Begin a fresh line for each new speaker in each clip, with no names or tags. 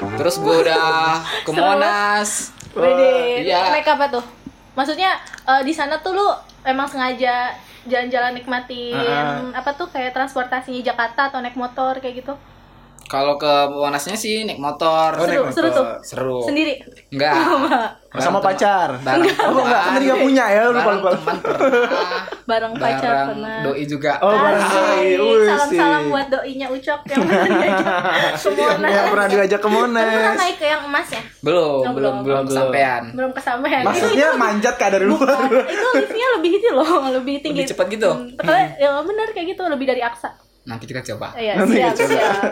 Terus gue udah ke
Seru.
Monas.
Eh,
Wede,
Iya.
naik apa tuh? Maksudnya eh, di sana tuh lu emang sengaja jalan-jalan nikmatin
Heeh.
apa tuh kayak transportasinya Jakarta atau naik motor kayak gitu?
Kalau ke Monasnya sih naik motor.
Oh,
seru,
naik
seru tuh.
motor.
Seru.
Sendiri.
Enggak.
Oh, sama pacar.
Barang
Oh, enggak, kan tadi nggak punya ya, lupa, lupa.
Teman pernah.
Bareng pacar
Barang
pernah. Ah.
doi juga.
Oh, bareng doi.
Asik.
Wih,
Salam-salam
sih.
buat doinya Ucok yang pernah diajak ke Monas.
Yang Iya, pernah diajak ke
Kan pernah
Monas.
naik ke yang emas ya?
Belum,
Oh,
belum,
belum.
belum, kesampean.
Belum kesampean.
Maksudnya manjat ke dari luar.
itu liftnya lebih itu loh, lebih tinggi.
Lebih cepat gitu?
Hmm, Pokoknya ya benar kayak gitu, lebih dari Aksa.
Nanti Nah, kita coba.
Iya,
Nanti
siap,
kita coba.
siap.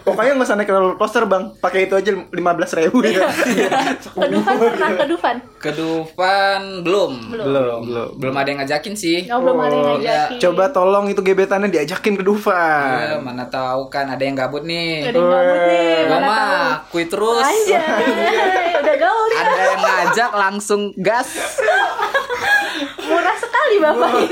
Pokoknya nggak usah naik roller coaster bang. Pakai itu aja 15.000 ribu
Iya.
ya.
Ke Dufan pernah ke Dufan?
Ke Dufan belum.
Belum.
belum, belum.
Belum ada yang ngajakin sih.
Oh, belum ada yang
Oh,
ngajakin.
Coba tolong itu gebetannya diajakin ke
Ya,
Dufan.
mana tahu kan ada yang gabut nih.
Jadi nyambut nih,
Gua
mana tahu.
mah kui terus.
Anjay, udah gaul nih.
Ada yang ngajak langsung gas.
Murah sekali Bapak ini.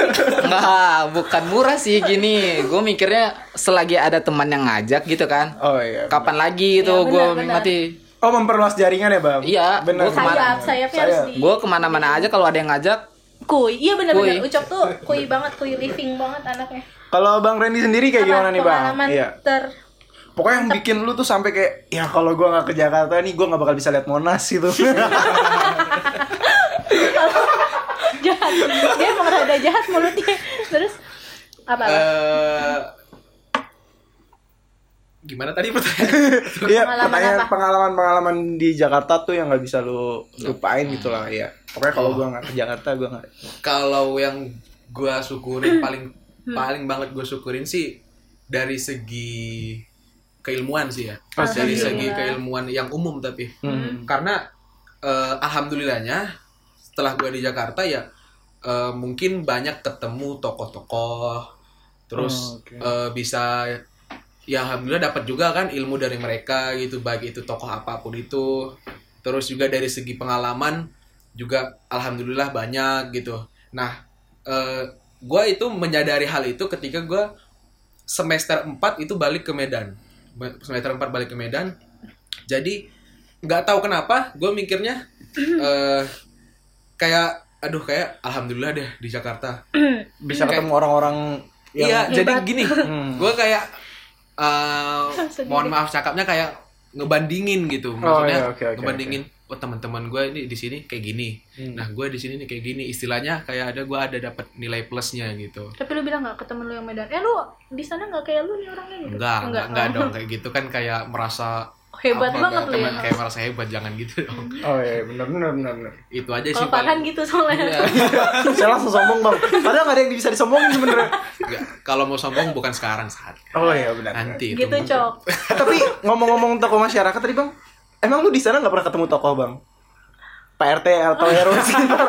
Enggak, bukan murah sih gini. Gue mikirnya selagi ada teman yang ngajak gitu kan.
Oh iya.
Kapan lagi itu
Iya,
gue
benar,
nikmati.
Oh memperluas jaringan ya bang?
Iya,
Benar.
gua kemana-
Sayap, sayapnya harus di
Gue kemana-mana aja kalau ada yang ngajak.
Kuy, iya benar-benar
Kuy.
Ucok tuh kuy banget, kuy living banget anaknya.
Kalau bang Randy sendiri kayak
Apa,
gimana nih bang?
Pengalaman
Iya.
ter
Pokoknya yang bikin lu tuh sampai kayak ya kalau gua nggak ke Jakarta nih gua nggak bakal bisa lihat Monas gitu.
jahat. Dia emang rada jahat mulutnya. Terus apa? apa?
Eh, gimana tadi pertanyaan?
Iya.
Pengalaman
Pertanyaan
apa?
pengalaman-pengalaman di Jakarta tuh yang nggak bisa lu lupain gitu lah ya. Pokoknya kalau gua nggak ke Jakarta gua nggak.
Kalau yang gua syukurin paling paling banget gue syukurin sih dari segi keilmuan sih ya.
Oh,
dari
serius?
segi keilmuan yang umum tapi
Hmm.
karena eh, alhamdulillahnya setelah gue di Jakarta ya eh, mungkin banyak ketemu tokoh-tokoh
Oh,
terus
oke.
eh, bisa ya alhamdulillah dapat juga kan ilmu dari mereka gitu baik itu tokoh apapun itu terus juga dari segi pengalaman juga alhamdulillah banyak gitu nah gue itu menyadari hal itu ketika gue semester 4 itu balik ke Medan semester 4 balik ke Medan jadi nggak tahu kenapa gue mikirnya eh kayak aduh kayak alhamdulillah deh di Jakarta
Bisa
Kayak-
ketemu orang-orang yang
iya
Hebat.
jadi gini
Hmm.
gue kayak eh,
Sendiri.
mohon maaf cakapnya kayak ngebandingin
Oh,
gitu maksudnya
iya, oke, oke,
ngebandingin oh teman-teman gue ini di sini kayak gini
Hmm.
nah gue di sini nih kayak gini istilahnya kayak ada gue ada dapat nilai plusnya gitu
Tapi lu bilang nggak ke temen lu yang Medan? Eh lu di sana nggak kayak lu nih orangnya gitu?
enggak enggak enggak dong kayak gitu kan kayak merasa
Hebat
apa,
banget lu ya.
teman- kayak merasa hebat jangan gitu dong
Oh iya benar benar benar benar.
itu aja sih
Kalau Farhan
paling-
gitu soalnya.
Saya langsung sombong bang. Padahal nggak ada yang bisa disombongin sebenernya.
Enggak, kalau mau sombong bukan sekarang saat
Oh iya benar.
nanti itu
gitu
mungkin.
cok
Eh, tapi ngomong-ngomong tokoh masyarakat tadi bang, emang lu di sana nggak pernah ketemu tokoh bang? Pak RT atau RW sekitar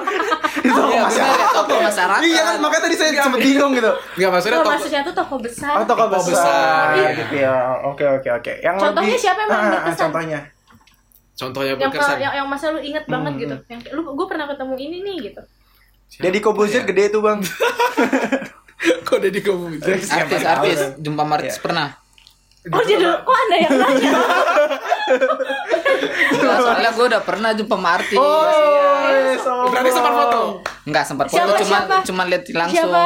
di
Iya,
tokoh
benar ya,
masyarakat.
tokoh masyarakat.
Iya kan makanya tadi saya sempet bingung gitu.
Enggak maksudnya
Kalau
toko-
maksudnya tuh toko besar
Oh tokoh
Tokoh
besar,
besar.
gitu ya. Oke oke oke. Yang
Contohnya
lebih-
siapa yang paling
Ah, ah, ah,
berkesan?
Contohnya.
contohnya
yang,
berkesan
yang yang masa lu inget banget
Hmm.
gitu yang kayak, lu gue pernah ketemu ini nih gitu
Siapa
Jadi Kobuzir
ya?
gede tuh bang.
kok Deddy Kobuzer
Siapa
Artis,
tahu? ya.
artis. Jumpa sama artis
Iya.
pernah.
oh jadi kok ada yang nanya
Enggak, soalnya gue udah pernah jumpa sama artis.
Oh, iya,
berarti
sombong.
sempat foto
Enggak sempat
Siapa,
foto, cuman
siapa?
cuman lihat langsung.
Siapa?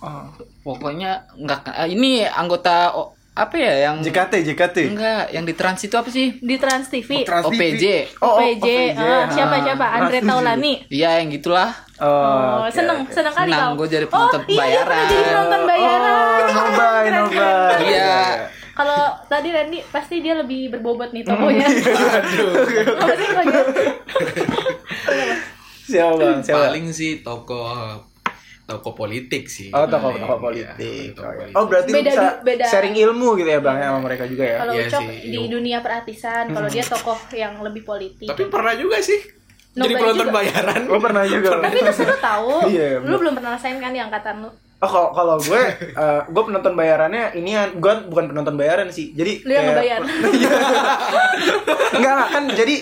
Oh.
Pokoknya enggak eh, ini anggota oh, apa ya yang
JKT JKT.
enggak yang di trans itu apa sih?
di Trans TV
Trans TV.
OPJ.
Oh, oh,
OPJ ah, siapa
Ah,
siapa Andre
Trans TV.
Taulani
Iya yang gitulah.
Oh,
oke,
seneng,
oke.
seneng kali
Senang,
kau.
gua jadi penonton
oh, iya, dia pernah jadi
bayaran.
penonton bayaran.
Oh, nobay,
Keren, keren.
nobay.
Iya.
Kalau tadi Randy pasti dia lebih berbobot nih tokonya. Apa sih kalau dia?
Siapa bang? Siapa?
paling sih toko toko politik sih
Oh, tokoh
Paling,
tokoh
iya,
politik.
tokoh politik.
Oh, berarti lu
Beda-
bisa
beda-
sharing ilmu gitu ya, Bang, ya, sama mereka juga ya.
Kalau
Iya
Ucok
sih,
di
iya.
dunia perartisan, kalau dia tokoh yang lebih
iya.
politik.
tapi pernah juga sih jadi
Nobel
penonton
juga.
bayaran
Oh, Lo pernah juga.
Tapi itu seru tahu.
Iya,
lu
bener.
belum pernah rasain kan di angkatan lu.
Oh kalau kalau gue, eh, gue penonton bayarannya inian, gue bukan penonton bayaran sih. Jadi
Lu yang ngebayar.
kayak- Enggak enggak, kan jadi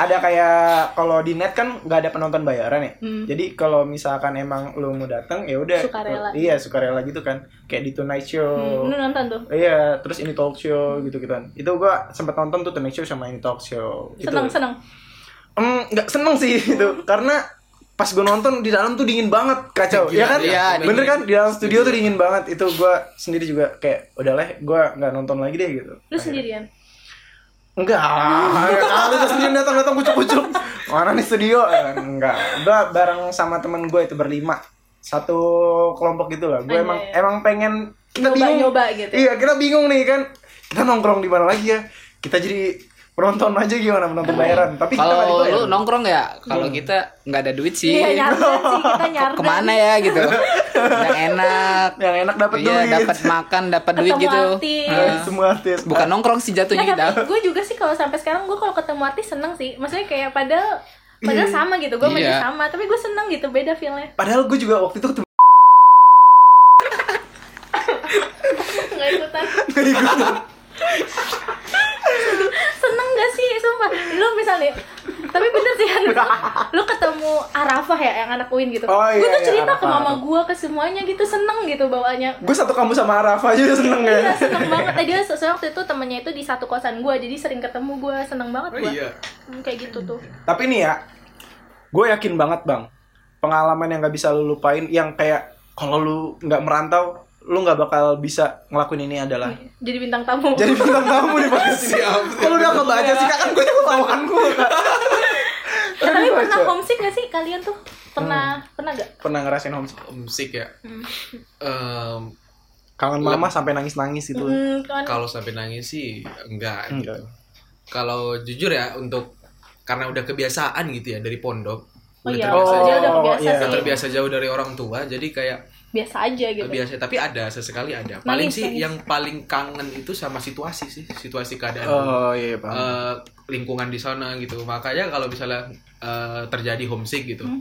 ada kayak kalau di net kan nggak ada penonton bayaran ya.
Hmm.
Jadi kalau misalkan emang lu mau datang ya udah.
Sukarela.
Iya sukarela gitu kan. Kayak di Tonight Show.
Hmm, Lu nonton tuh.
Iya, terus ini talk show gitu gitu kan. Itu gua sempet nonton tuh Tonight Show sama ini talk show. Gitu.
Seneng seneng.
Em, nggak seneng sih itu karena pas gue nonton di dalam tuh dingin banget kacau
Gila,
ya kan
iya,
bener
dingin.
kan di dalam studio tuh dingin banget itu gua sendiri juga kayak udah lah gue nggak nonton lagi deh gitu
Lu sendirian.
enggak kalau udah sendiri datang datang kucuk kucuk mana nih studio Eh, enggak gue bareng sama temen gue itu berlima satu kelompok gitu lah gue emang
Anjay.
emang pengen kita
Nyoba-
bingung
nyoba gitu.
iya kita bingung nih kan kita nongkrong di mana lagi ya kita jadi penonton aja gimana penonton
Iya.
bayaran tapi kita nggak
Kalau
dibayar. Hmm.
lu nongkrong ya, kalau kita nggak ada duit sih.
Iya nyardan sih kita nyardan.
Kemana ya gitu? Yang enak.
yang enak dapat
Iya,
duit Iya,
dapat makan, dapat
Ketemu
duit gitu.
artis.
Heeh.
semua artis
Bukan nongkrong sih jatuhnya gitu.
Nggak,
kita.
tapi gue juga sih kalau sampai sekarang gue kalau ketemu artis seneng sih. Maksudnya kayak padahal padahal sama gitu, gue
Iya.
masih sama, tapi gue seneng gitu beda feelnya.
padahal gue juga waktu itu ketemu
Nggak ikutan.
gitu.
seneng gak sih sumpah lu misalnya tapi bener sih Han. lu ketemu Arafah ya yang anak Uin gitu
Oh,
gue
iya,
tuh
iya,
cerita ke
Arafah.
mama gue ke semuanya gitu seneng gitu bawaannya
gue satu kamu sama Rafa aja udah seneng ya
Iya seneng banget Eh, dia soalnya waktu itu temennya itu di satu kosan gue jadi sering ketemu gue seneng banget
Oh
gue
iya.
Hmm, kayak gitu tuh
tapi nih ya gue yakin banget bang pengalaman yang gak bisa lu lupain yang kayak kalau lu nggak merantau lu nggak bakal bisa ngelakuin ini adalah
jadi bintang tamu
jadi bintang tamu di podcast ini
Siap.
kalau udah kebaca sih Kak, kan gue juga tahu kan gue
Eh, tapi
Aduh,
pernah
Cok.
homesick gak sih kalian tuh pernah pernah gak
pernah ngerasain homesick
Musik ya.
Hmm.
Em,
kangen mama sampai nangis nangis itu
Hmm, kan
kalau sampai nangis sih enggak gitu.
enggak
Kalau jujur ya untuk karena udah kebiasaan gitu ya dari pondok.
oh
udah
iya
terbiasa,
dia udah
Oh,
kebiasa
iya.
udah
sih
terbiasa jauh dari orang tua jadi kayak
biasa aja gitu
biasa tapi ada sesekali ada. Paling
Nangis,
sih
nangis.
yang paling kangen itu sama situasi sih, situasi keadaan.
oh iya bang
eh, lingkungan di sana gitu. Makanya kalau misalnya eh, terjadi homesick gitu,
Hmm.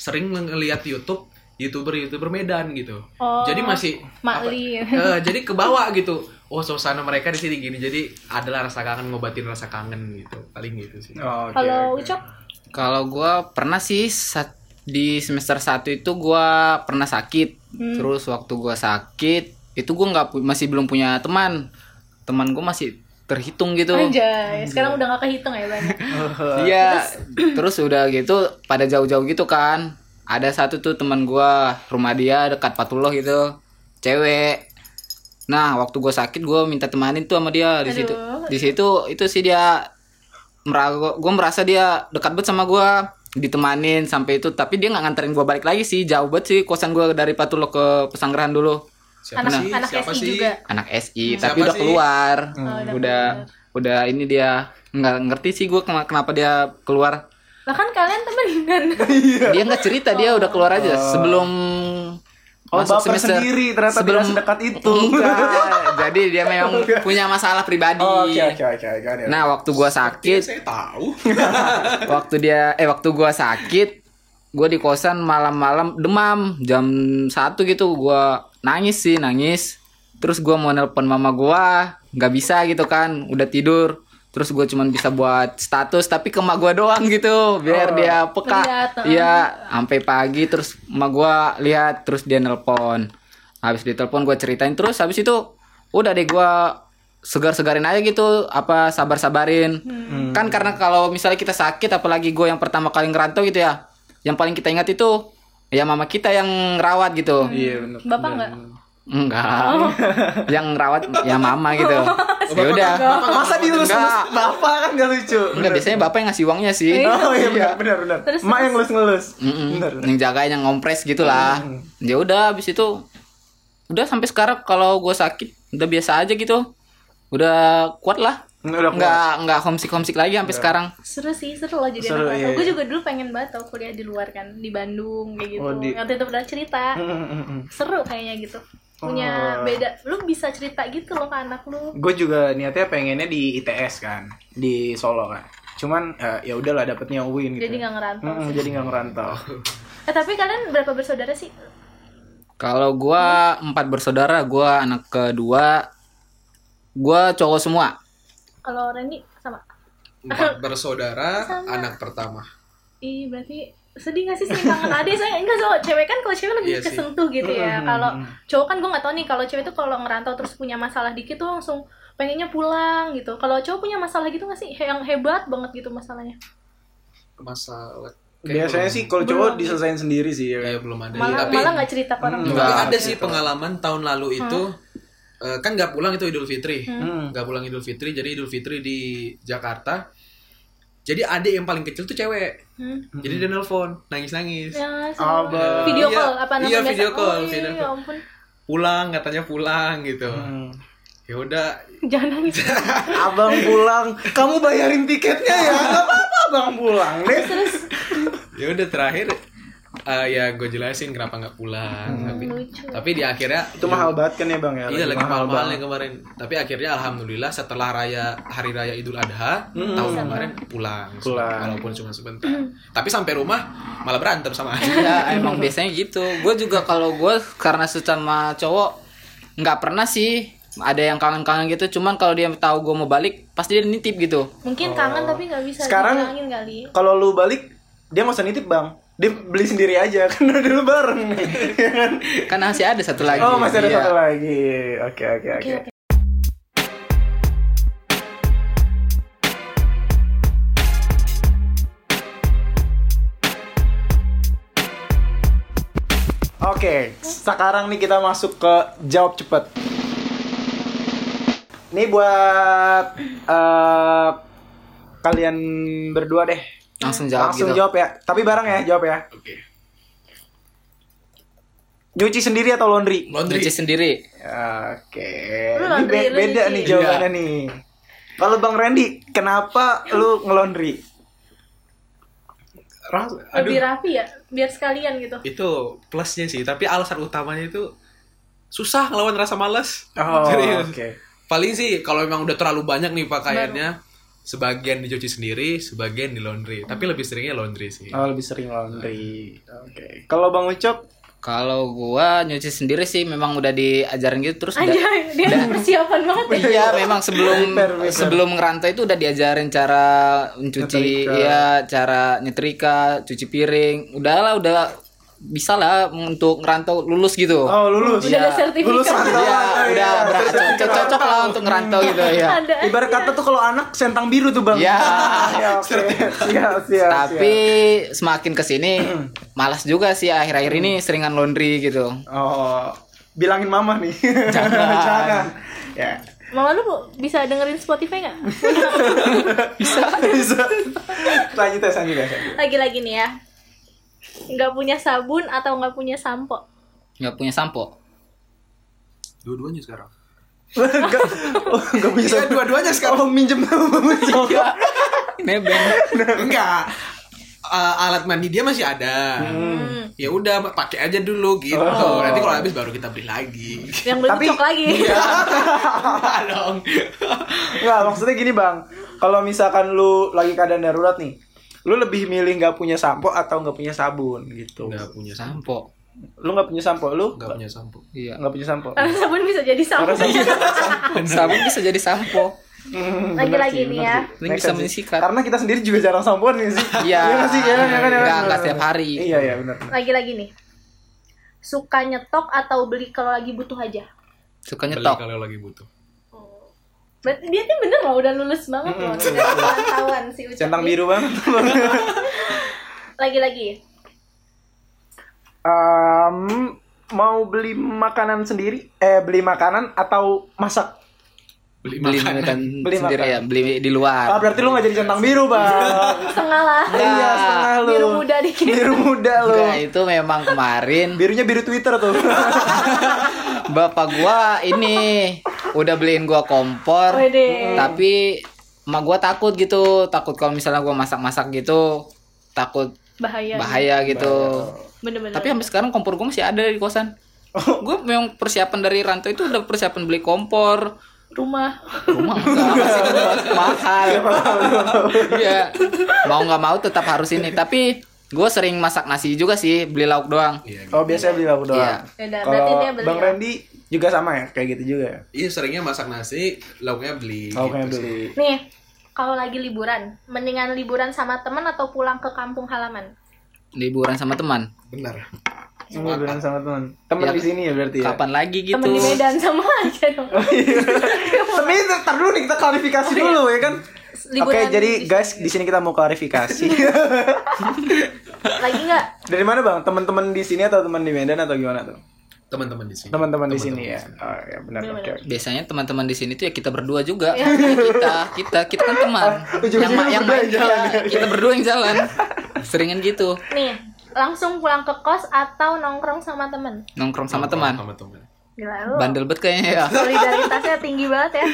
sering ngelihat YouTube youtuber-youtuber Medan gitu.
Oh,
jadi masih
Makli.
apa- eh, jadi ke bawah gitu. Oh, suasana mereka di sini gini. Jadi adalah rasa kangen ngobatin rasa kangen gitu. Paling gitu sih.
Oh, oke,
kalau
oke.
Ucok
Kalau gua pernah sih sa- di semester 1 itu gua pernah sakit.
Hmm.
Terus waktu gua sakit itu gua nggak pu- masih belum punya teman. Teman gua masih terhitung gitu.
Anjay, sekarang udah gak kehitung ya banyak
Iya. Terus udah gitu pada jauh-jauh gitu kan. Ada satu tuh teman gua, rumah dia dekat Patullah gitu. Cewek. Nah, waktu gua sakit gua minta temanin tuh sama dia di situ.
Aduh.
Di situ itu sih dia merago gua merasa dia dekat banget sama gua ditemanin sampai itu tapi dia nggak nganterin gua balik lagi sih jauh banget sih kosan gua dari Patullah ke pesanggrahan dulu
Siapa
Anak-
sih?
anak
Siapa
SI
sih?
juga.
anak SI
Hmm.
tapi
Siapa
udah
sih?
keluar
Oh, udah
udah udah ini dia nggak ngerti sih gua kena- kenapa dia keluar
Lah kan kalian temenan
dia nggak cerita dia udah keluar aja sebelum
Oh, baper sendiri, ternyata tidak sedekat itu.
Enggak. Iya, jadi dia memang punya masalah pribadi
Oh, oke oke oke oke Iya,
nah waktu gua
Ya,
sakit
saya tahu.
waktu dia eh waktu gua sakit gua di kosan malam-malam demam jam satu gitu gua nangis sih nangis terus gua mau nelpon mama gua nggak bisa gitu kan udah tidur terus gue cuman bisa buat status tapi ke emak gua doang gitu
Oh.
biar dia peka
Lihat, heeh.
iya sampai pagi terus emak gua lihat terus dia nelpon habis ditelepon gua ceritain terus habis itu udah deh gua segar-segarin aja gitu apa sabar-sabarin kan karena kalau misalnya kita sakit apalagi gue yang pertama kali ngerantau gitu ya yang paling kita ingat itu ya mama kita yang rawat gitu
iya bener
Bapak gak?
enggak yang rawat ya mama gitu ya udah
masa dilus ngelus
Enggak.
bapak kan gak lucu
Enggak, biasanya gitu. bapak yang ngasih uangnya sih
oh iya benar benar benar
Terus,
mak yang ngelus ngelus
Mm-mm.
benar
yang jagain yang ngompres gitulah ya udah habis itu udah sampai sekarang kalau gue sakit udah biasa aja gitu udah kuat lah
Udah kuat.
nggak nggak homesick homesick lagi sampai sekarang
Seru sih, seru loh jadi
Seru,
anak
iya,
rantau. Gue
iya.
juga dulu pengen banget tau kuliah di luar kan Di Bandung kayak gitu
Oh, di-
Waktu itu pernah cerita Seru kayaknya gitu Punya
Oh.
beda, lu bisa cerita gitu loh ke anak lu
gue juga niatnya pengennya di ITS kan di Solo kan cuman eh, ya udahlah dapetnya Uin gitu
ya?
Jadi nggak ngerantau
Mm-mm, jadi nggak ngerantau
Eh tapi kalian berapa bersaudara sih?
Kalau gua empat bersaudara, gua anak kedua. Gua cowok semua.
Kalau Randy sama.
Empat bersaudara,
Sama.
anak pertama.
Ih, berarti sedih gak sih seimbangkan adik saya enggak soal cewek kan kalau cewek lebih
Iya sih.
kesentuh gitu ya kalau cowok kan gue nggak tahu nih kalau cewek tuh kalau ngerantau terus punya masalah dikit tuh langsung pengennya pulang gitu kalau cowok punya masalah gitu nggak sih He- yang hebat banget gitu masalahnya
Masalah. kayak
Biasanya
belum-
sih kalau cowok diselesain sendiri sih ya.
Iya,
kan?
belum ada.
malah
tapi Mm.
malah nggak Hmm. cerita ke orang
tapi
Enggak,
ada sih pengalaman tahun lalu itu eh, kan nggak pulang itu Idul Fitri.
Hmm.
Nggak pulang Idul Fitri, jadi Idul Fitri di Jakarta. Jadi adik yang paling kecil tuh cewek.
Hmm.
Jadi dia nelpon, nangis-nangis.
Ya, sama.
Oh, bah.
video
Iya,
call apa namanya
iya, video
Oh,
call,
iya,
video
ya
call.
ampun
Pulang katanya pulang gitu.
Hmm.
Ya udah,
jangan nangis
Abang pulang, kamu bayarin tiketnya ya. Gak apa-apa abang pulang deh.
ya udah terakhir eh, ya gue jelasin kenapa nggak pulang. Tapi
Hmm, lucu
tapi di akhirnya
Itu mahal banget kan ya bang ya?
Iya lagi mahal-mahalnya kemarin. Tapi akhirnya alhamdulillah setelah raya hari raya Idul Adha tahun kemarin Hmm. pulang,
Pulang.
walaupun cuma sebentar. Tapi sampai rumah malah berantem sama adik.
Ya emang biasanya gitu. Gue juga kalau gue karena sesama cowok nggak pernah sih ada yang kangen-kangen gitu. Cuman kalau dia tahu gue mau balik, pasti dia nitip gitu.
mungkin kangen tapi nggak bisa
Oh. Sekarang-
dibilangin kali
Kalau lu balik, dia nggak usah nitip bang. Dia beli sendiri aja karena udah lebaran. Iya kan?
Kan masih ada satu lagi.
Oh masih ada
Iya.
satu lagi. Oke oke oke.
oke.
Oke, sekarang nih kita masuk ke jawab cepat. Ini buat eh, kalian berdua deh.
Langsung jawab
Langsung
gitu.
jawab ya. Tapi bareng ya, jawab ya.
Oke.
Nyuci sendiri atau laundry?
Laundry.
Nyuci sendiri.
Oke.
Lu
Ini
laundry,
be-
lu
beda
nyuci.
nih jawabannya nih. Kalau Bang Randy, kenapa lu ngelondri?
Ras-
lebih
Aduh,
rapi ya biar sekalian gitu
itu plusnya sih. Tapi alasan utamanya itu susah ngelawan rasa malas.
Oh,
Serius.
oke.
Paling sih kalau memang udah terlalu banyak nih pakaiannya, sebagian dicuci sendiri, sebagian di laundry. Tapi lebih seringnya laundry sih.
Oh, lebih sering laundry. Oke. Kalau Bang Ucok,
Kalau gua nyuci sendiri sih memang udah diajarin gitu terus udah-
Anjay, dia persiapan banget ya.
Iya, memang sebelum
Fair, fair.
sebelum ngerantau itu udah diajarin cara mencuci,
Nyetrika.
iya, cara nyetrika, cuci piring. Udahlah, udah bisa lah untuk ngerantau lulus gitu.
oh lulus.
Udah ada
Lulus
sertifikat.
rantauan.
Iya,
Oh, iya.
udah berangkat cocok, cocok lah untuk ngerantau gitu ya.
Ada.
Ibarat kata tuh kalau anak sentang biru tuh bang.
Iya.
Ya, oke. iya, Siap, siap,
Tapi
siap.
semakin kesini malas juga sih akhir-akhir ini seringan laundry gitu.
oh bilangin mama nih.
Jangan.
Jangan. Ya.
Mama lu bisa dengerin Spotify nggak?
Bisa. Bisa. Lanjut ya, lanjut ya.
Lagi-lagi nih ya. Nggak punya sabun atau nggak punya sampo?
nggak punya sampo.
Dua-duanya sekarang.
Enggak, oh, enggak bisa.
Iya, dua-duanya
sekarang minjem sama Bang Ucok.
Nebeng.
Enggak. Eh, alat mandi dia masih ada.
Hmm.
Ya udah pakai aja dulu gitu.
Oh.
Nanti kalau habis baru kita beli lagi.
Yang belum
Tapi- Iya.
cocok lagi.
Enggak dong.
Enggak, maksudnya gini bang. Kalau misalkan lu lagi keadaan darurat nih, lu lebih milih nggak punya sampo atau nggak punya sabun gitu.
Enggak punya sampo.
Sampo.
Lu nggak punya sampo, lu
Enggak punya sampo.
Iya.
nggak punya sampo.
Karena sabun bisa jadi sampo.
Karena sabun-
Sabun bisa jadi sampo.
Hmm,
Lagi-lagi
bener sih,
nih
bener
ya.
sih.
Ini
Make
bisa
sense sih.
menyisikat.
Karena kita sendiri juga jarang sampoan nih sih.
Iya.
Iya nggak sih, iya kan, iya kan, iya kan.
Nggak- nggak setiap hari.
Iya, iya benar. benar.
Lagi-lagi nih. Suka nyetok atau beli kalau lagi butuh aja?
Suka
Beli
nyetok.
kalau lagi butuh.
Berarti dia tuh bener loh, udah lulus banget loh. Udah pengetahuan si Ucap
Centang
nih.
biru banget.
Lagi-lagi.
Em, mau beli makanan sendiri? Eh, beli makanan atau masak?
Beli
beli
makanan.
makan
Beli
sendiri
makan.
ya beli di
Ah,
luar
berarti lu nggak jadi centang biru, Bang.
Setengah lah.
Iya, setengah lu.
Biru muda dikit.
Biru muda lu.
Enggak, itu memang kemarin
Birunya biru Twitter tuh.
bapak gua ini udah beliin gua kompor
Wede.
tapi emak gua takut gitu takut kalau misalnya gua masak-masak gitu takut
Iya,
Bahaya.
bahaya gitu
Bener-bener.
tapi sampai sekarang kompor gua masih ada di kosan
Oh.
gua memang persiapan dari rantau itu udah persiapan beli kompor
rumah
rumah enggak, masih Iya. tetap mahal iya mau nggak mau tetap harus ini tapi Gue sering masak nasi juga sih, beli lauk doang.
Iya, gitu.
Oh biasanya beli lauk doang.
Iya.
Yaudah, berarti
Kalau
dia beli
Bang
ya.
Randy juga sama ya kayak gitu juga ya.
Iya seringnya masak nasi, lauknya beli.
Kalau kayak
gitu sih.
beli.
Nih, kalau lagi liburan, mendingan liburan sama teman atau pulang ke kampung halaman?
Liburan sama teman.
Benar.
Ini bilang sama teman. Teman
Iya.
di sini ya berarti ya.
Kapan lagi gitu?
Temen di Medan sama aja dong.
Tapi ntar dulu nih kita klarifikasi dulu ya kan. Oke,
Liburan
jadi
di-
guys di sini kita mau klarifikasi.
Lagi nggak?
Dari mana Bang? Teman-teman di sini atau teman di Medan atau gimana tuh?
Teman-teman di sini.
Teman-teman di sini ya. Oh ya benar. Oke. oke.
Biasanya teman-teman di sini tuh ya kita berdua juga. kita, kita, kita kan teman.
Ujung-ujungnya Ah, berdua yang
main,
jalan
iya, kita berdua yang jalan. Seringan gitu,
Nih, langsung pulang ke kos atau nongkrong sama temen?
nongkrong sama
Nongkrong
teman.
Sama teman.
Gila lu.
Bandel bet kayaknya ya.
Solidaritasnya tinggi banget ya.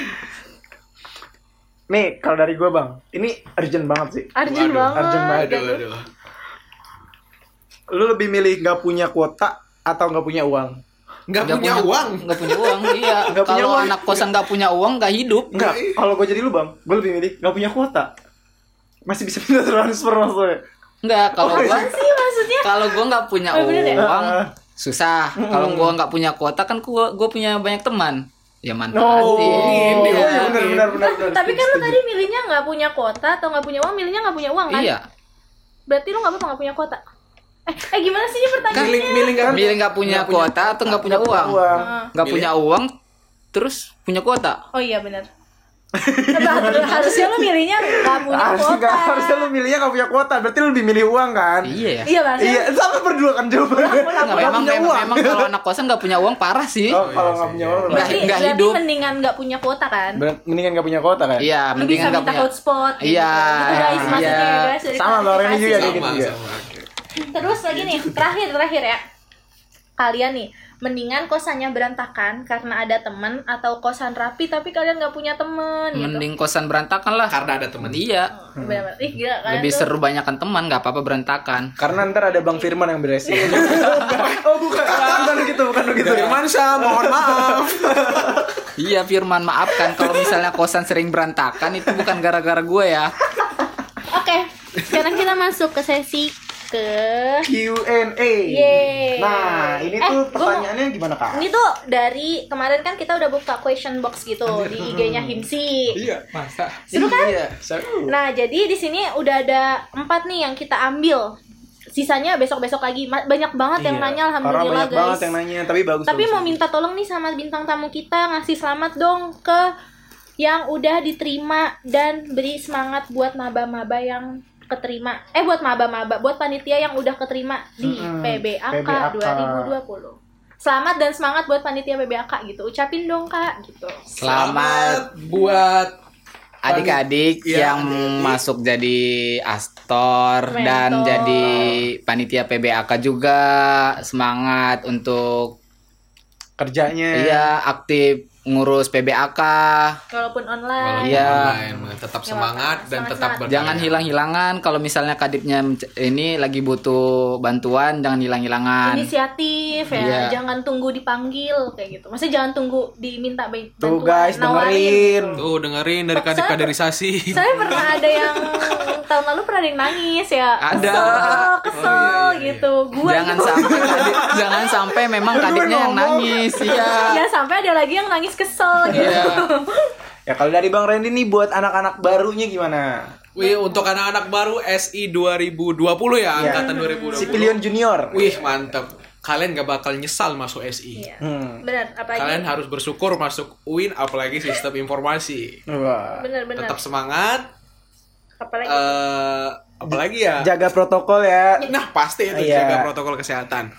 Nih, kalau dari gua Bang, ini urgent banget sih.
Arjun
Waduh,
banget.
Arjun banget.
gitu.
Aduh, aduh.
Lu lebih milih nggak punya kuota atau nggak punya uang?
Nggak punya uang.
Nggak punya uang, iya.
Nggak punya
Kalau
uang.
anak kosan nggak punya uang nggak hidup.
Enggak, kalau gue jadi lu bang, gue lebih milih nggak punya kuota. Masih bisa pindah transfer maksudnya.
Nggak, kalau
Oh,
gua
iya.
Apaan sih maksudnya?
kalau gua nggak punya
Oh, bener ya?
uang
Ah.
susah. Kalau gua nggak punya kuota kan gua gua punya banyak teman. Ya mantap. Iya.
No. Oh, iya, benar benar benar. benar.
Tapi kan lu tadi milihnya nggak punya kuota atau nggak punya uang, milihnya nggak punya uang kan?
Iya.
Berarti lu nggak apa-apa nggak punya kuota. Eh, eh gimana sih ini pertanyaannya?
Milih, milih Kan nggak?
Milih nggak punya kuota atau nggak punya uang?
uang.
Ah.
Nggak punya uang terus punya kuota.
Oh iya benar. harusnya lu milihnya nggak punya
Harus
kuota.
enggak harusnya lu milihnya nggak punya kuota, berarti lu lebih milih uang kan?
Iya ya.
Iya harusnya.
Iya, sama berdua kan jawabannya.
Nggak, memang
Nggak punya
memang,
uang.
memang kalau anak kosan nggak punya uang parah sih.
Oh, kalau nggak punya uang.
Nggak-
Berarti,
nggak
berarti
hidup.
mendingan nggak punya kuota kan?
Ber- Mendingan nggak punya kuota kan?
Iya,
Lu bisa
mendingan nggak
minta
punya.
hotspot gitu.
Iya,
Gitu, guys, maksudnya
iya.
ya, guys, jadi
Sama, Bang Reni juga kayak
klarifikasi.
gitu
Sama,
juga.
sama.
Terus lagi nih, terakhir terakhir ya. Kalian nih, mendingan kosannya berantakan karena ada temen atau kosan rapi tapi kalian nggak punya temen gitu.
Mending kosan berantakan lah.
Karena ada teman.
Iya.
Bener-bener. Ih, gila, kalian
Lebih
tuh-
seru banyakan teman, nggak apa-apa berantakan.
Karena ntar ada Bang Firman yang beresin. oh bukan, bukan gitu, bukan gitu.
Firman Syah, mohon maaf.
Iya Firman maafkan kalau misalnya kosan sering berantakan itu bukan gara-gara gue ya.
Oke, sekarang kita masuk ke sesi ke
Q&A.
Yeay.
Nah,
Iya.
ini
Eh, gua mau-
tuh pertanyaannya gimana kak?
ini tuh dari kemarin kan kita udah buka question box gitu di IG-nya
Hmm.
Himsi.
Iya, masa.
Seru kan?
Iya, seru.
Nah, jadi di sini udah ada empat nih yang kita ambil. Sisanya besok-besok lagi. Ma- Banyak banget yang
Iya,
nanya
orang
alhamdulillah
banyak banget
guys.
yang nanya, tapi bagus.
Tapi
bagus,
mau
bagus.
minta tolong nih sama bintang tamu kita ngasih selamat dong ke yang udah diterima dan beri semangat buat maba-maba yang keterima. Eh buat maba-maba, buat panitia yang udah keterima di
Mm-mm,
PBAK,
PBAK.
2020. Selamat dan semangat buat panitia PBAK gitu. Ucapin dong, Kak, gitu.
Selamat
buat
adik-adik
Iya,
yang
adik-adik.
masuk jadi astor dan
Mentor.
jadi panitia PBAK juga semangat untuk
kerjanya.
iya aktif ngurus PBAK
Walaupun online.
Walaupun
Iya.
online, tetap semangat dan
Semangat,
tetap
semangat.
berkarya.
jangan hilang-hilangan kalau misalnya kadipnya menc- ini lagi butuh bantuan jangan
kan.
hilang-hilangan
inisiatif ya
Iya.
jangan tunggu dipanggil kayak gitu maksudnya jangan tunggu diminta ba- bantuan
Tuh guys,
nawarin,
dengerin.
gitu.
Tuh dengerin dari
Saya-
kaderisasi.
saya pernah ada yang tahun lalu pernah ada yang nangis ya
Ada.
kesel kesel
Oh, iya, iya, iya.
gitu gua
jangan
gitu.
sampai kadip- jangan sampai memang kadipnya yang nangis
ya
iya
sampai ada lagi yang nangis kesel gitu
Ya kalau dari Bang Randy nih buat anak-anak barunya gimana?
Wih, untuk anak-anak baru SI 2020
Iya.
ya, angkatan
Si
2020.
Pilion Junior.
Wih, mantap. Kalian gak bakal nyesal masuk SI.
Iya.
Hmm.
benar apa
Kalian
ini
harus bersyukur masuk UIN apalagi sistem informasi.
Wah.
benar benar
Tetap semangat.
apalagi
Eh, apalagi ya?
Jaga protokol ya.
Nah, pasti itu
Iya.
jaga protokol kesehatan.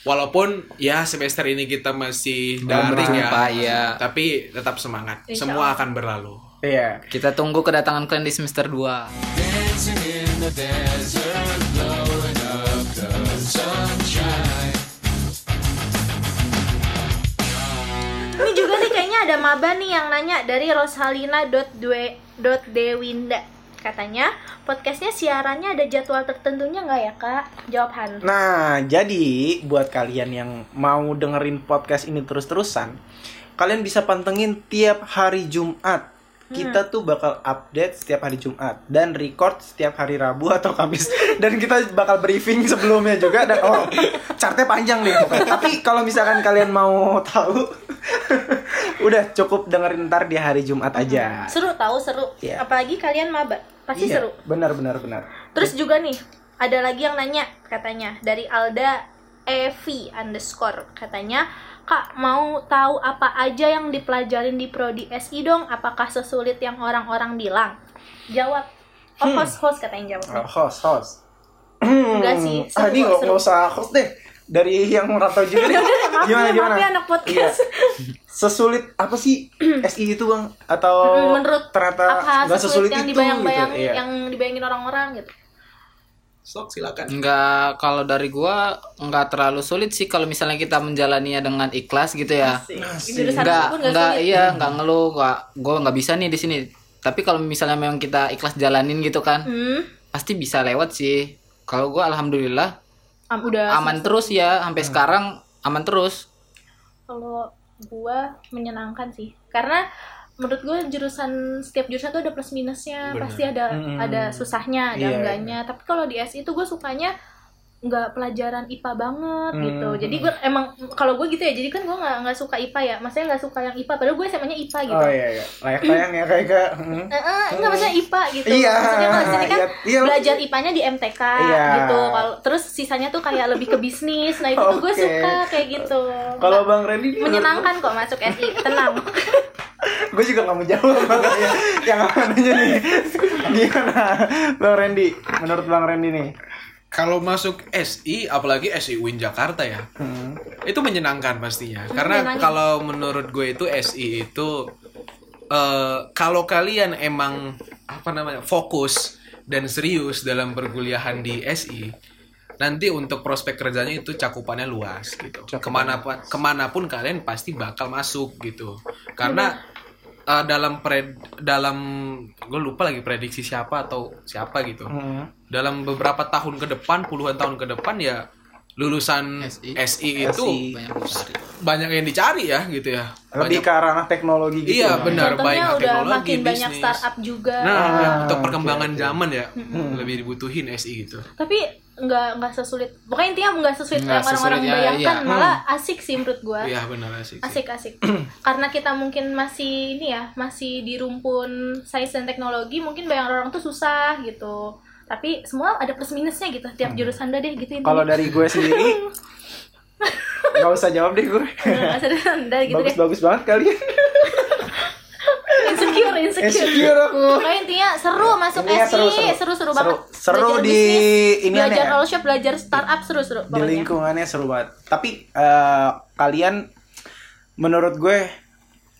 Walaupun ya semester ini kita masih
Belum
daring
berjumpa,
ya,
iya.
tapi tetap semangat.
Insya
Semua
Allah.
akan berlalu.
Iya.
kita tunggu kedatangan kalian di semester 2
ini juga nih kayaknya ada maba nih yang nanya dari rosalina.dewinda katanya podcastnya siarannya ada jadwal tertentunya nggak ya kak jawab Han
Nah, jadi buat kalian yang mau dengerin podcast ini terus-terusan, kalian bisa pantengin tiap hari Jumat
Hmm.
kita tuh bakal update setiap hari Jumat dan record setiap hari Rabu atau Kamis dan kita bakal briefing sebelumnya juga dan oh chartnya panjang nih tapi kalau misalkan kalian mau tahu udah cukup dengerin ntar di hari Jumat aja
Seru tahu seru.
Iya.
Apalagi kalian maba, Hmm. pasti
Iya,
seru.
benar benar benar
Terus juga nih, ada lagi yang nanya katanya dari Alda Evi underscore katanya Kak mau tahu apa aja yang dipelajarin di prodi SI dong? Apakah sesulit yang orang-orang bilang? Jawab. Oh, host-host katanya
Oh,
jawab.
host host
Enggak sih, seru,
ah ini nggak
seru.
nggak usah host deh dari yang merantau juga deh.
Maaf
gimana
ya,
gimana Iya.
maaf ya anak podcast.
sesulit apa sih SI itu bang atau
Mm, menurut
ternyata
Apa
nggak
sesulit
sesulit
yang
itu
dibayang-bayang
gitu, iya.
yang dibayangin orang-orang gitu?
Sok silakan.
Enggak, kalau dari gua enggak terlalu sulit sih kalau misalnya kita menjalaninya dengan ikhlas gitu ya.
Jurusan
Enggak,
Ah, apapun nggak
enggak
sulit.
iya, enggak ngeluh, enggak gua enggak bisa nih di sini. Tapi kalau misalnya memang kita ikhlas jalanin gitu kan,
Hmm,
pasti bisa lewat sih. Kalau gua alhamdulillah
am- udah
aman terus ya sampai
Hmm.
sekarang aman terus.
kalau gua menyenangkan sih karena menurut gua jurusan setiap jurusan tuh ada plus minusnya
Benar.
pasti ada
Mm-mm.
ada susahnya ada
Iya,
enggaknya tapi kalau di SI itu gue sukanya nggak pelajaran IPA banget gitu
Mm.
jadi gue emang kalau gue gitu ya jadi kan gue nggak nggak suka IPA ya maksudnya nggak suka yang IPA padahal gue SMA-nya IPA gitu
oh iya iya layak layang ya kayak kayak hmm.
Eh, eh, enggak maksudnya IPA gitu
iya
maksudnya kalau di sini kan
iya, iya.
belajar IPA-nya di MTK
Iya.
gitu kalau terus sisanya tuh kayak lebih ke bisnis nah itu tuh gue
Oke.
suka kayak gitu
kalau bang Randy ini
menyenangkan kok masuk SI tenang
gue juga nggak mau jawab makanya yang amannya nih gimana bang Randy menurut bang Randy nih
Kalau masuk SI, apalagi SI UIN Jakarta ya,
hmm.
itu menyenangkan pastinya. Karena
menyenangkan.
kalau menurut gue itu SI itu eh, kalau kalian emang apa namanya fokus dan serius dalam perkuliahan di SI, nanti untuk prospek kerjanya itu cakupannya luas gitu. Kemana kemanapun kalian pasti bakal masuk gitu. Karena eh, dalam pred dalam gue lupa lagi prediksi siapa atau siapa gitu
Hmm.
dalam beberapa tahun ke depan puluhan tahun ke depan ya lulusan
SI.
SI, itu
Banyak dicari.
banyak yang dicari ya gitu ya
lebih
banyak
ke arah teknologi gitu
iya
ya.
benar baik
Contohnya udah
teknologi
makin banyak
bisnis.
startup juga.
nah
Ah,
untuk
oke,
perkembangan
oke.
zaman ya lebih dibutuhin SI gitu
Tapi nggak nggak sesulit. Pokoknya intinya nggak sesulit
Nggak
yang orang-orang
sesulit, ya,
bayangkan.
iya.
Malah asik sih menurut gua.
Hmm. iya benar sih
Asik asik. Karena kita mungkin masih ini ya, masih di rumpun sains dan teknologi, mungkin bayang orang tuh susah gitu. Tapi semua ada plus minusnya gitu.
Hmm.
Tiap jurusan udah deh gitu intinya.
kalau dari gue sendiri nggak usah jawab deh gue
Nggak usah rendah gitu deh.
bagus-bagus banget kalian
Insecure, insecure.
insecure aku
Pokoknya intinya seru masuk
Intinya
SI,
ya, seru, seru.
seru-seru
Seru.
banget.
Seru
Belajar
di
bisnis,
iniannya
belajar ya.
ya.
all shop, belajar startup seru-seru
di
pokoknya. Iya,
lingkungannya seru banget tapi eh, kalian menurut gue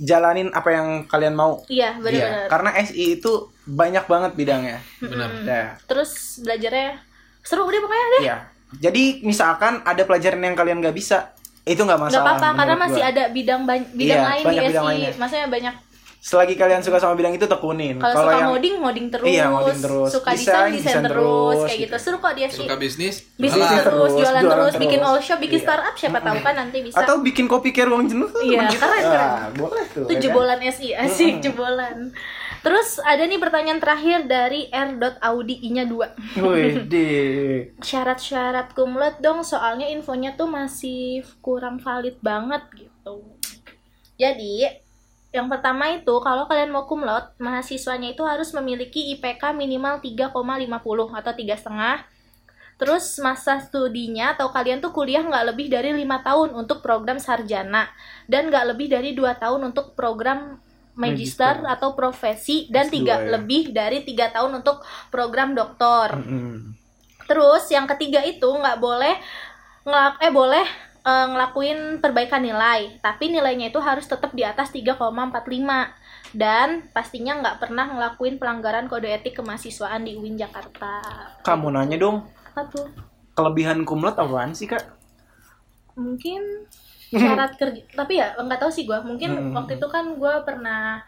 jalanin apa yang kalian mau
Iya, benar-benar.
Iya, karena SI itu banyak banget bidangnya
benar
Hmm.
Nah,
terus belajarnya seru deh pokoknya deh
iya. jadi misalkan ada pelajaran yang kalian nggak bisa itu nggak
nggak
masalah
apa-apa karena
menurut
masih
gue.
ada bidang ban- bidang
Iya,
lain
banyak
di
bidang
SI
lainnya. Hmm,
maksudnya banyak
selagi kalian suka sama bidang itu tekunin
kalau suka ngoding ngoding terus,
Iya, ngoding terus.
suka
Desain,
desain desain
desain
terus
terus,
kayak gitu
gitu.
seru kok di SI
suka bisnis
bisnis
jualan.
terus,
terus,
jualan,
jualan
terus, bikin
terus.
all shop bikin
Iya.
startup siapa tahu kan nanti bisa
atau bikin kopi keruang jenuh tuh
Iya,
teman kita.
keren, keren.
Ah, boleh tuh
itu
ya kan?
jebolan SI asik jebolan terus ada nih pertanyaan terakhir dari r.audi i-nya 2
Wih, di
syarat-syarat kumlot dong soalnya infonya tuh masih kurang valid banget gitu jadi yang pertama itu kalau kalian mau kumlot mahasiswanya itu harus memiliki IPK minimal 3,50 atau tiga setengah terus masa studinya atau kalian tuh kuliah nggak lebih dari lima tahun untuk program sarjana dan nggak lebih dari dua tahun untuk program magister,
Magister.
atau profesi dan
S2
tiga
ya.
lebih dari tiga tahun untuk program doktor
Mm-mm.
Terus yang ketiga itu nggak boleh ngelak eh boleh eh, ngelakuin perbaikan nilai, tapi nilainya itu harus tetap di atas 3,45 dan pastinya nggak pernah ngelakuin pelanggaran kode etik kemahasiswaan di UIN Jakarta.
kamu nanya dong
Apa tuh?
kelebihan kumlot apaan sih kak
Mungkin syarat kerja, tapi ya nggak tahu sih gua. Mungkin
Hmm.
waktu itu kan gua pernah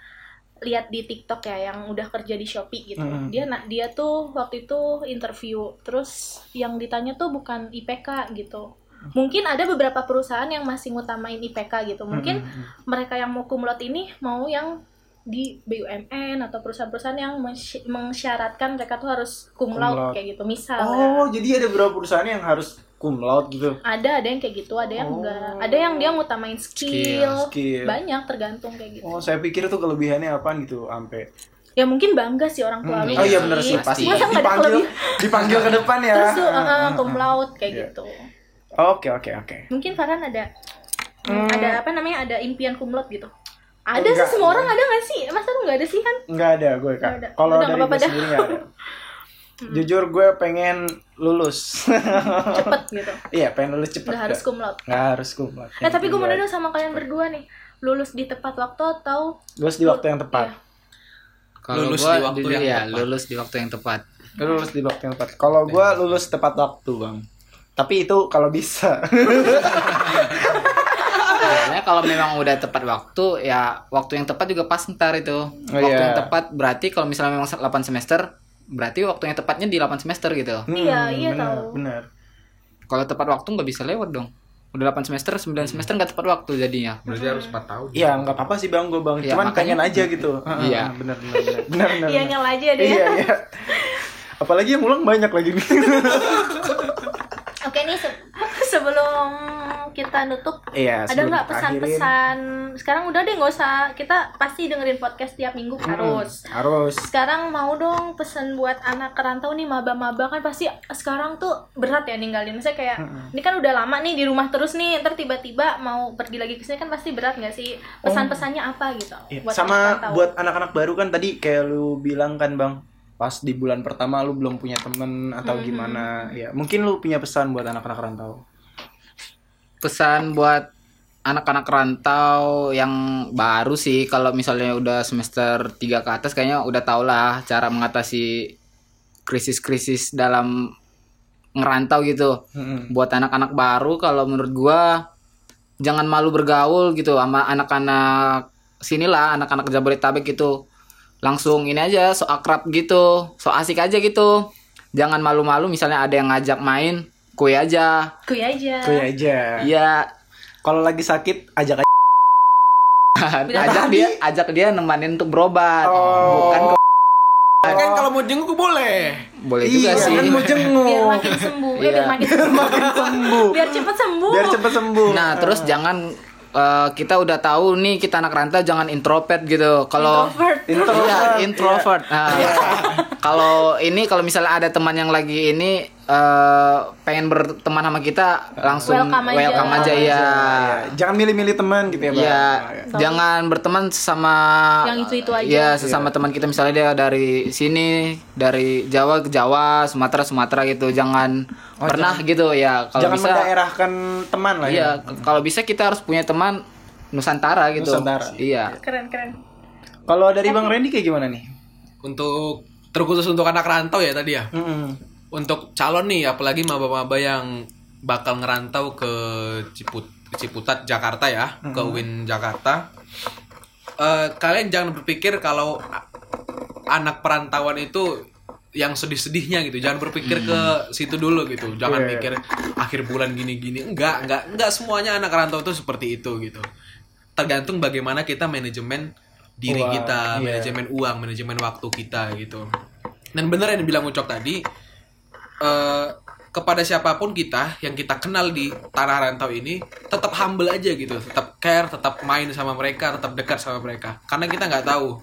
lihat di TikTok ya yang udah kerja di Shopee gitu.
Hmm.
Dia nak dia tuh waktu itu interview, terus yang ditanya tuh bukan IPK gitu. Mungkin ada beberapa
Hmm.
perusahaan yang masih ngutamain IPK gitu. Mungkin
Mm-mm.
mereka yang mau kumlot ini mau yang di BUMN atau perusahaan-perusahaan yang mensy- mensyaratkan mereka tuh harus cum
Cum
laude
laude.
kayak gitu misalnya
Oh, jadi ada beberapa perusahaan yang harus cum laude gitu.
ada ada yang kayak gitu ada yang
Oh.
enggak ada yang dia ngutamain skill, Oh,
Skill.
banyak tergantung kayak gitu
Oh, saya pikir tuh kelebihannya apaan gitu, ampe.
ya mungkin bangga sih orang tua lu
Hmm,
Oh iya benar sih,
Iya.
pasti.
Masa nggak ada
Dipanggil,
kelebihan?
dipanggil ke depan ya.
terus tuh
Ah, ah,
uh, cum
ah.
laude kayak
Iya.
gitu
Oke, oke, oke.
mungkin Farhan ada
Hmm.
ada apa namanya ada impian cum laude gitu ada
Enggak.
sih semua orang ada nggak sih masa lu nggak ada sih kan
Enggak ada gue, Kak.
Nggak ada.
Kalau
Udah,
dari
nggak
gue
apa-apa dah.
sendiri nggak ada. Jujur gue pengen lulus.
cepet gitu
Iya, pengen lulus cepet.
nggak harus cum laude
Nggak harus cum laude.
Nah, tapi gue mau
Pengen
nanya dong sama kalian berdua nih. Lulus di tepat waktu atau
lulus di waktu yang tepat.
Iya.
Kalau
Lulus
gua
di waktu
jujur
yang
ya,
tepat.
lulus di waktu yang tepat.
Lu lulus di waktu yang tepat. Kalau gue
Iya.
lulus tepat waktu, Bang. Tapi itu kalau bisa.
Soalnya kalau memang udah tepat waktu, ya waktu yang tepat juga pas ntar itu. waktu
iya.
yang tepat berarti kalau misalnya memang 8 semester, berarti waktunya tepatnya di 8 semester gitu.
Iya, iya
bener,
tahu.
Bener.
Kalau tepat waktu nggak bisa lewat dong. Udah 8 semester, 9 semester nggak tepat waktu jadinya.
Berarti harus 4 tahun.
Iya, nggak apa-apa sih, Bang, gue Bang.
Iya,
Cuman
makanya-
pengen aja gitu.
Iya.
bener, bener, bener. Bener, bener,
Iya
bener.
nyala aja deh.
iya iya apalagi yang ulang banyak lagi nih
Oke nih se- sebelum kita nutup
iya
ada
sebelum
nggak
kita akhirin.
pesan-pesan? Sekarang udah deh nggak usah kita pasti dengerin podcast tiap minggu
Mm-mm,
harus.
Hmm, harus
Sekarang mau dong pesan buat anak kerantau nih maba-maba kan pasti sekarang tuh berat ya ninggalin. Misalnya kayak
Hmm.
ini kan udah lama nih di rumah terus nih, ntar tiba-tiba mau pergi lagi ke sini kan pasti berat nggak sih? Pesan-pesannya apa gitu?
Iya,
anak
sama
kerantau?
buat anak-anak baru kan tadi kayak lu bilang kan bang pas di bulan pertama lu belum punya temen atau
Hmm.
gimana ya mungkin lu punya pesan buat anak-anak rantau
Pesan buat anak-anak rantau yang baru sih kalau misalnya udah semester 3 ke atas kayaknya udah tau lah cara mengatasi krisis-krisis dalam ngerantau gitu.
Mm-mm.
buat anak-anak baru kalau menurut gua jangan malu bergaul gitu sama anak-anak sinilah anak-anak Jabodetabek gitu langsung ini aja so akrab gitu so asik aja gitu jangan malu-malu misalnya ada yang ngajak main kue aja
Kuy aja.
Kuy ya aja
iya
kalau lagi sakit ajak aja
ajak dia ajak dia nemanin untuk berobat
Oh.
bukan ke-
Kan kalau mau jenguk boleh.
boleh juga sih
kan mau
biar
jenguk
makin sembuh ya biar
Iya.
makin sembuh
sembuh
biar cepet sembuh
biar cepet sembuh
Nah, terus jangan eh, kita udah tahu nih kita anak rantau jangan introvert gitu. Kalau
Introvert.
Introvert.
Iya,
Iya.
introvert. Nah, kalau ini kalau misalnya ada teman yang lagi ini eh, pengen berteman sama kita langsung
Welcome aja.
aja, ya.
Iya, jangan milih-milih teman gitu ya bang
Ya,
Iya.
jangan berteman sama
Yang itu-itu aja.
Ya, sesama
Iya.
teman kita misalnya dia dari sini, dari Jawa ke Jawa, Sumatera Sumatera gitu. Jangan pernah gitu ya. Kalau
Oh, jangan
bisa
mendaerahkan teman lah ya
Iya, kalau bisa kita harus punya teman Nusantara gitu.
Nusantara.
Iya.
keren keren
Kalau dari Bang Randy kayak gimana nih?
Untuk terkhusus untuk anak rantau ya tadi ya. Untuk calon nih apalagi maba-maba yang bakal ngerantau ke Ciput ke Ciputat Jakarta ya, ke
Hmm.
UIN Jakarta. Eh, kalian jangan berpikir kalau a- anak perantauan itu yang sedih-sedihnya gitu. Jangan berpikir ke situ dulu gitu. Jangan
Iya.
mikir akhir bulan gini-gini. Enggak, enggak, enggak semuanya anak rantau itu seperti itu gitu. Tergantung bagaimana kita manajemen diri
Uang, iya.
kita, manajemen uang, manajemen waktu kita gitu. Dan bener yang dibilang Ucok tadi, eh, kepada siapapun kita yang kita kenal di tanah rantau ini, tetap humble aja gitu, tetap care, tetap main sama mereka, tetap dekat sama mereka. Karena kita nggak tahu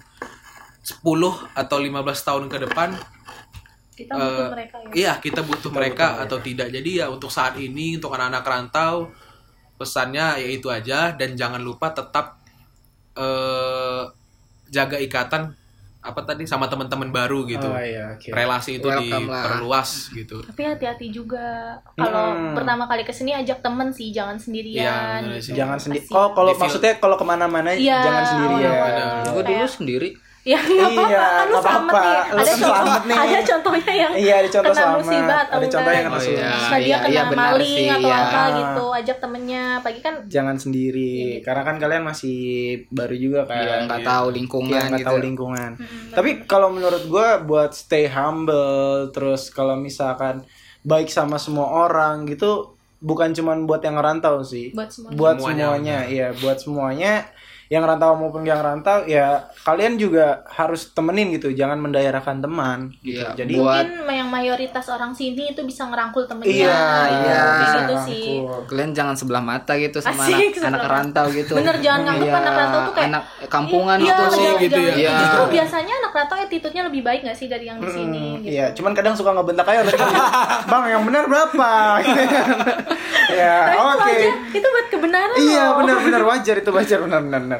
10 atau 15 tahun ke depan
kita butuh
Eh,
mereka ya
Iya, kita butuh mereka atau tidak. Jadi ya untuk saat ini untuk anak-anak rantau pesannya ya itu aja dan jangan lupa tetap eh jaga ikatan apa tadi sama teman-teman baru gitu.
Oh iya, oke.
Relasi itu
Welcome lah.
diperluas gitu.
tapi hati-hati juga kalau
Hmm.
pertama kali kesini ajak temen sih jangan
Iya, bener
sendirian gitu.
sih.
Jangan sendiri. Oh, kalau
Di
maksudnya kalau kemana-mana
Iya,
jangan ya. sendirian.
awal-awal.
Bener.
Gue dulu
Kayak-
sendiri.
ya nggak
Iya,
apa-apa kan lu
nggak
selamat
apa-apa.
nih
Lu
ada contoh
selamat nih.
ada contohnya yang
Iya, ada contoh
kena
selamat.
musibah atau
Ada contoh yang
enggak.
kena
Oh,
musibah.
iya.
Terus dia kena
iya, benar
maling
sih,
atau
iya.
apa gitu ajak temennya pagi kan
Jangan sendiri.
Iya.
Karena kan kalian masih baru juga kan.
Iya, nggak tahu lingkungan
Iya, nggak
gitu.
tahu lingkungan. Tapi kalau menurut gue buat stay humble terus kalau misalkan baik sama semua orang gitu bukan cuman buat yang ngerantau sih
buat semua
buat
Semuanya.
semuanya, iya buat semuanya yang rantau maupun yang rantau ya kalian juga harus temenin gitu jangan mendaerahkan teman gitu
Iya,
jadi
buat
mungkin yang mayoritas orang sini itu bisa ngerangkul temennya
iya iya
Di
bisa
situ sih
rangkul.
kalian jangan sebelah mata gitu sama
Asik,
anak, anak
sebelah
rantau gitu.
Bener, jangan nganggep anak rantau tuh kayak,
anak kampungan
Iya,
gitu sih.
sih,
jangan-
gitu ya.
jangan.
Iya.
Justru biasanya anak rantau attitude-nya lebih baik gak sih dari yang di sini
Hmm,
gitu.
iya cuman kadang suka ngebentak aja orang gitu. bang yang benar berapa ya
Tapi Nah, itu
oke
aja, itu buat kebenaran
Iya
loh.
benar-benar wajar itu wajar benar-benar. benar.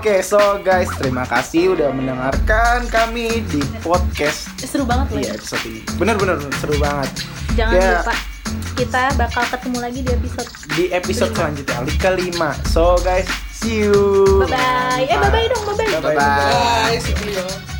Oke so guys terima kasih udah mendengarkan kami di podcast
Seru banget loh.
iya episode ini. Benar-benar seru banget.
Jangan
Ya.
lupa kita bakal ketemu lagi di episode
Di episode selanjutnya Alika kelima. So guys see you.
bye bye. Eh bye bye dong, bye bye.
Bye bye.
Bye, see you.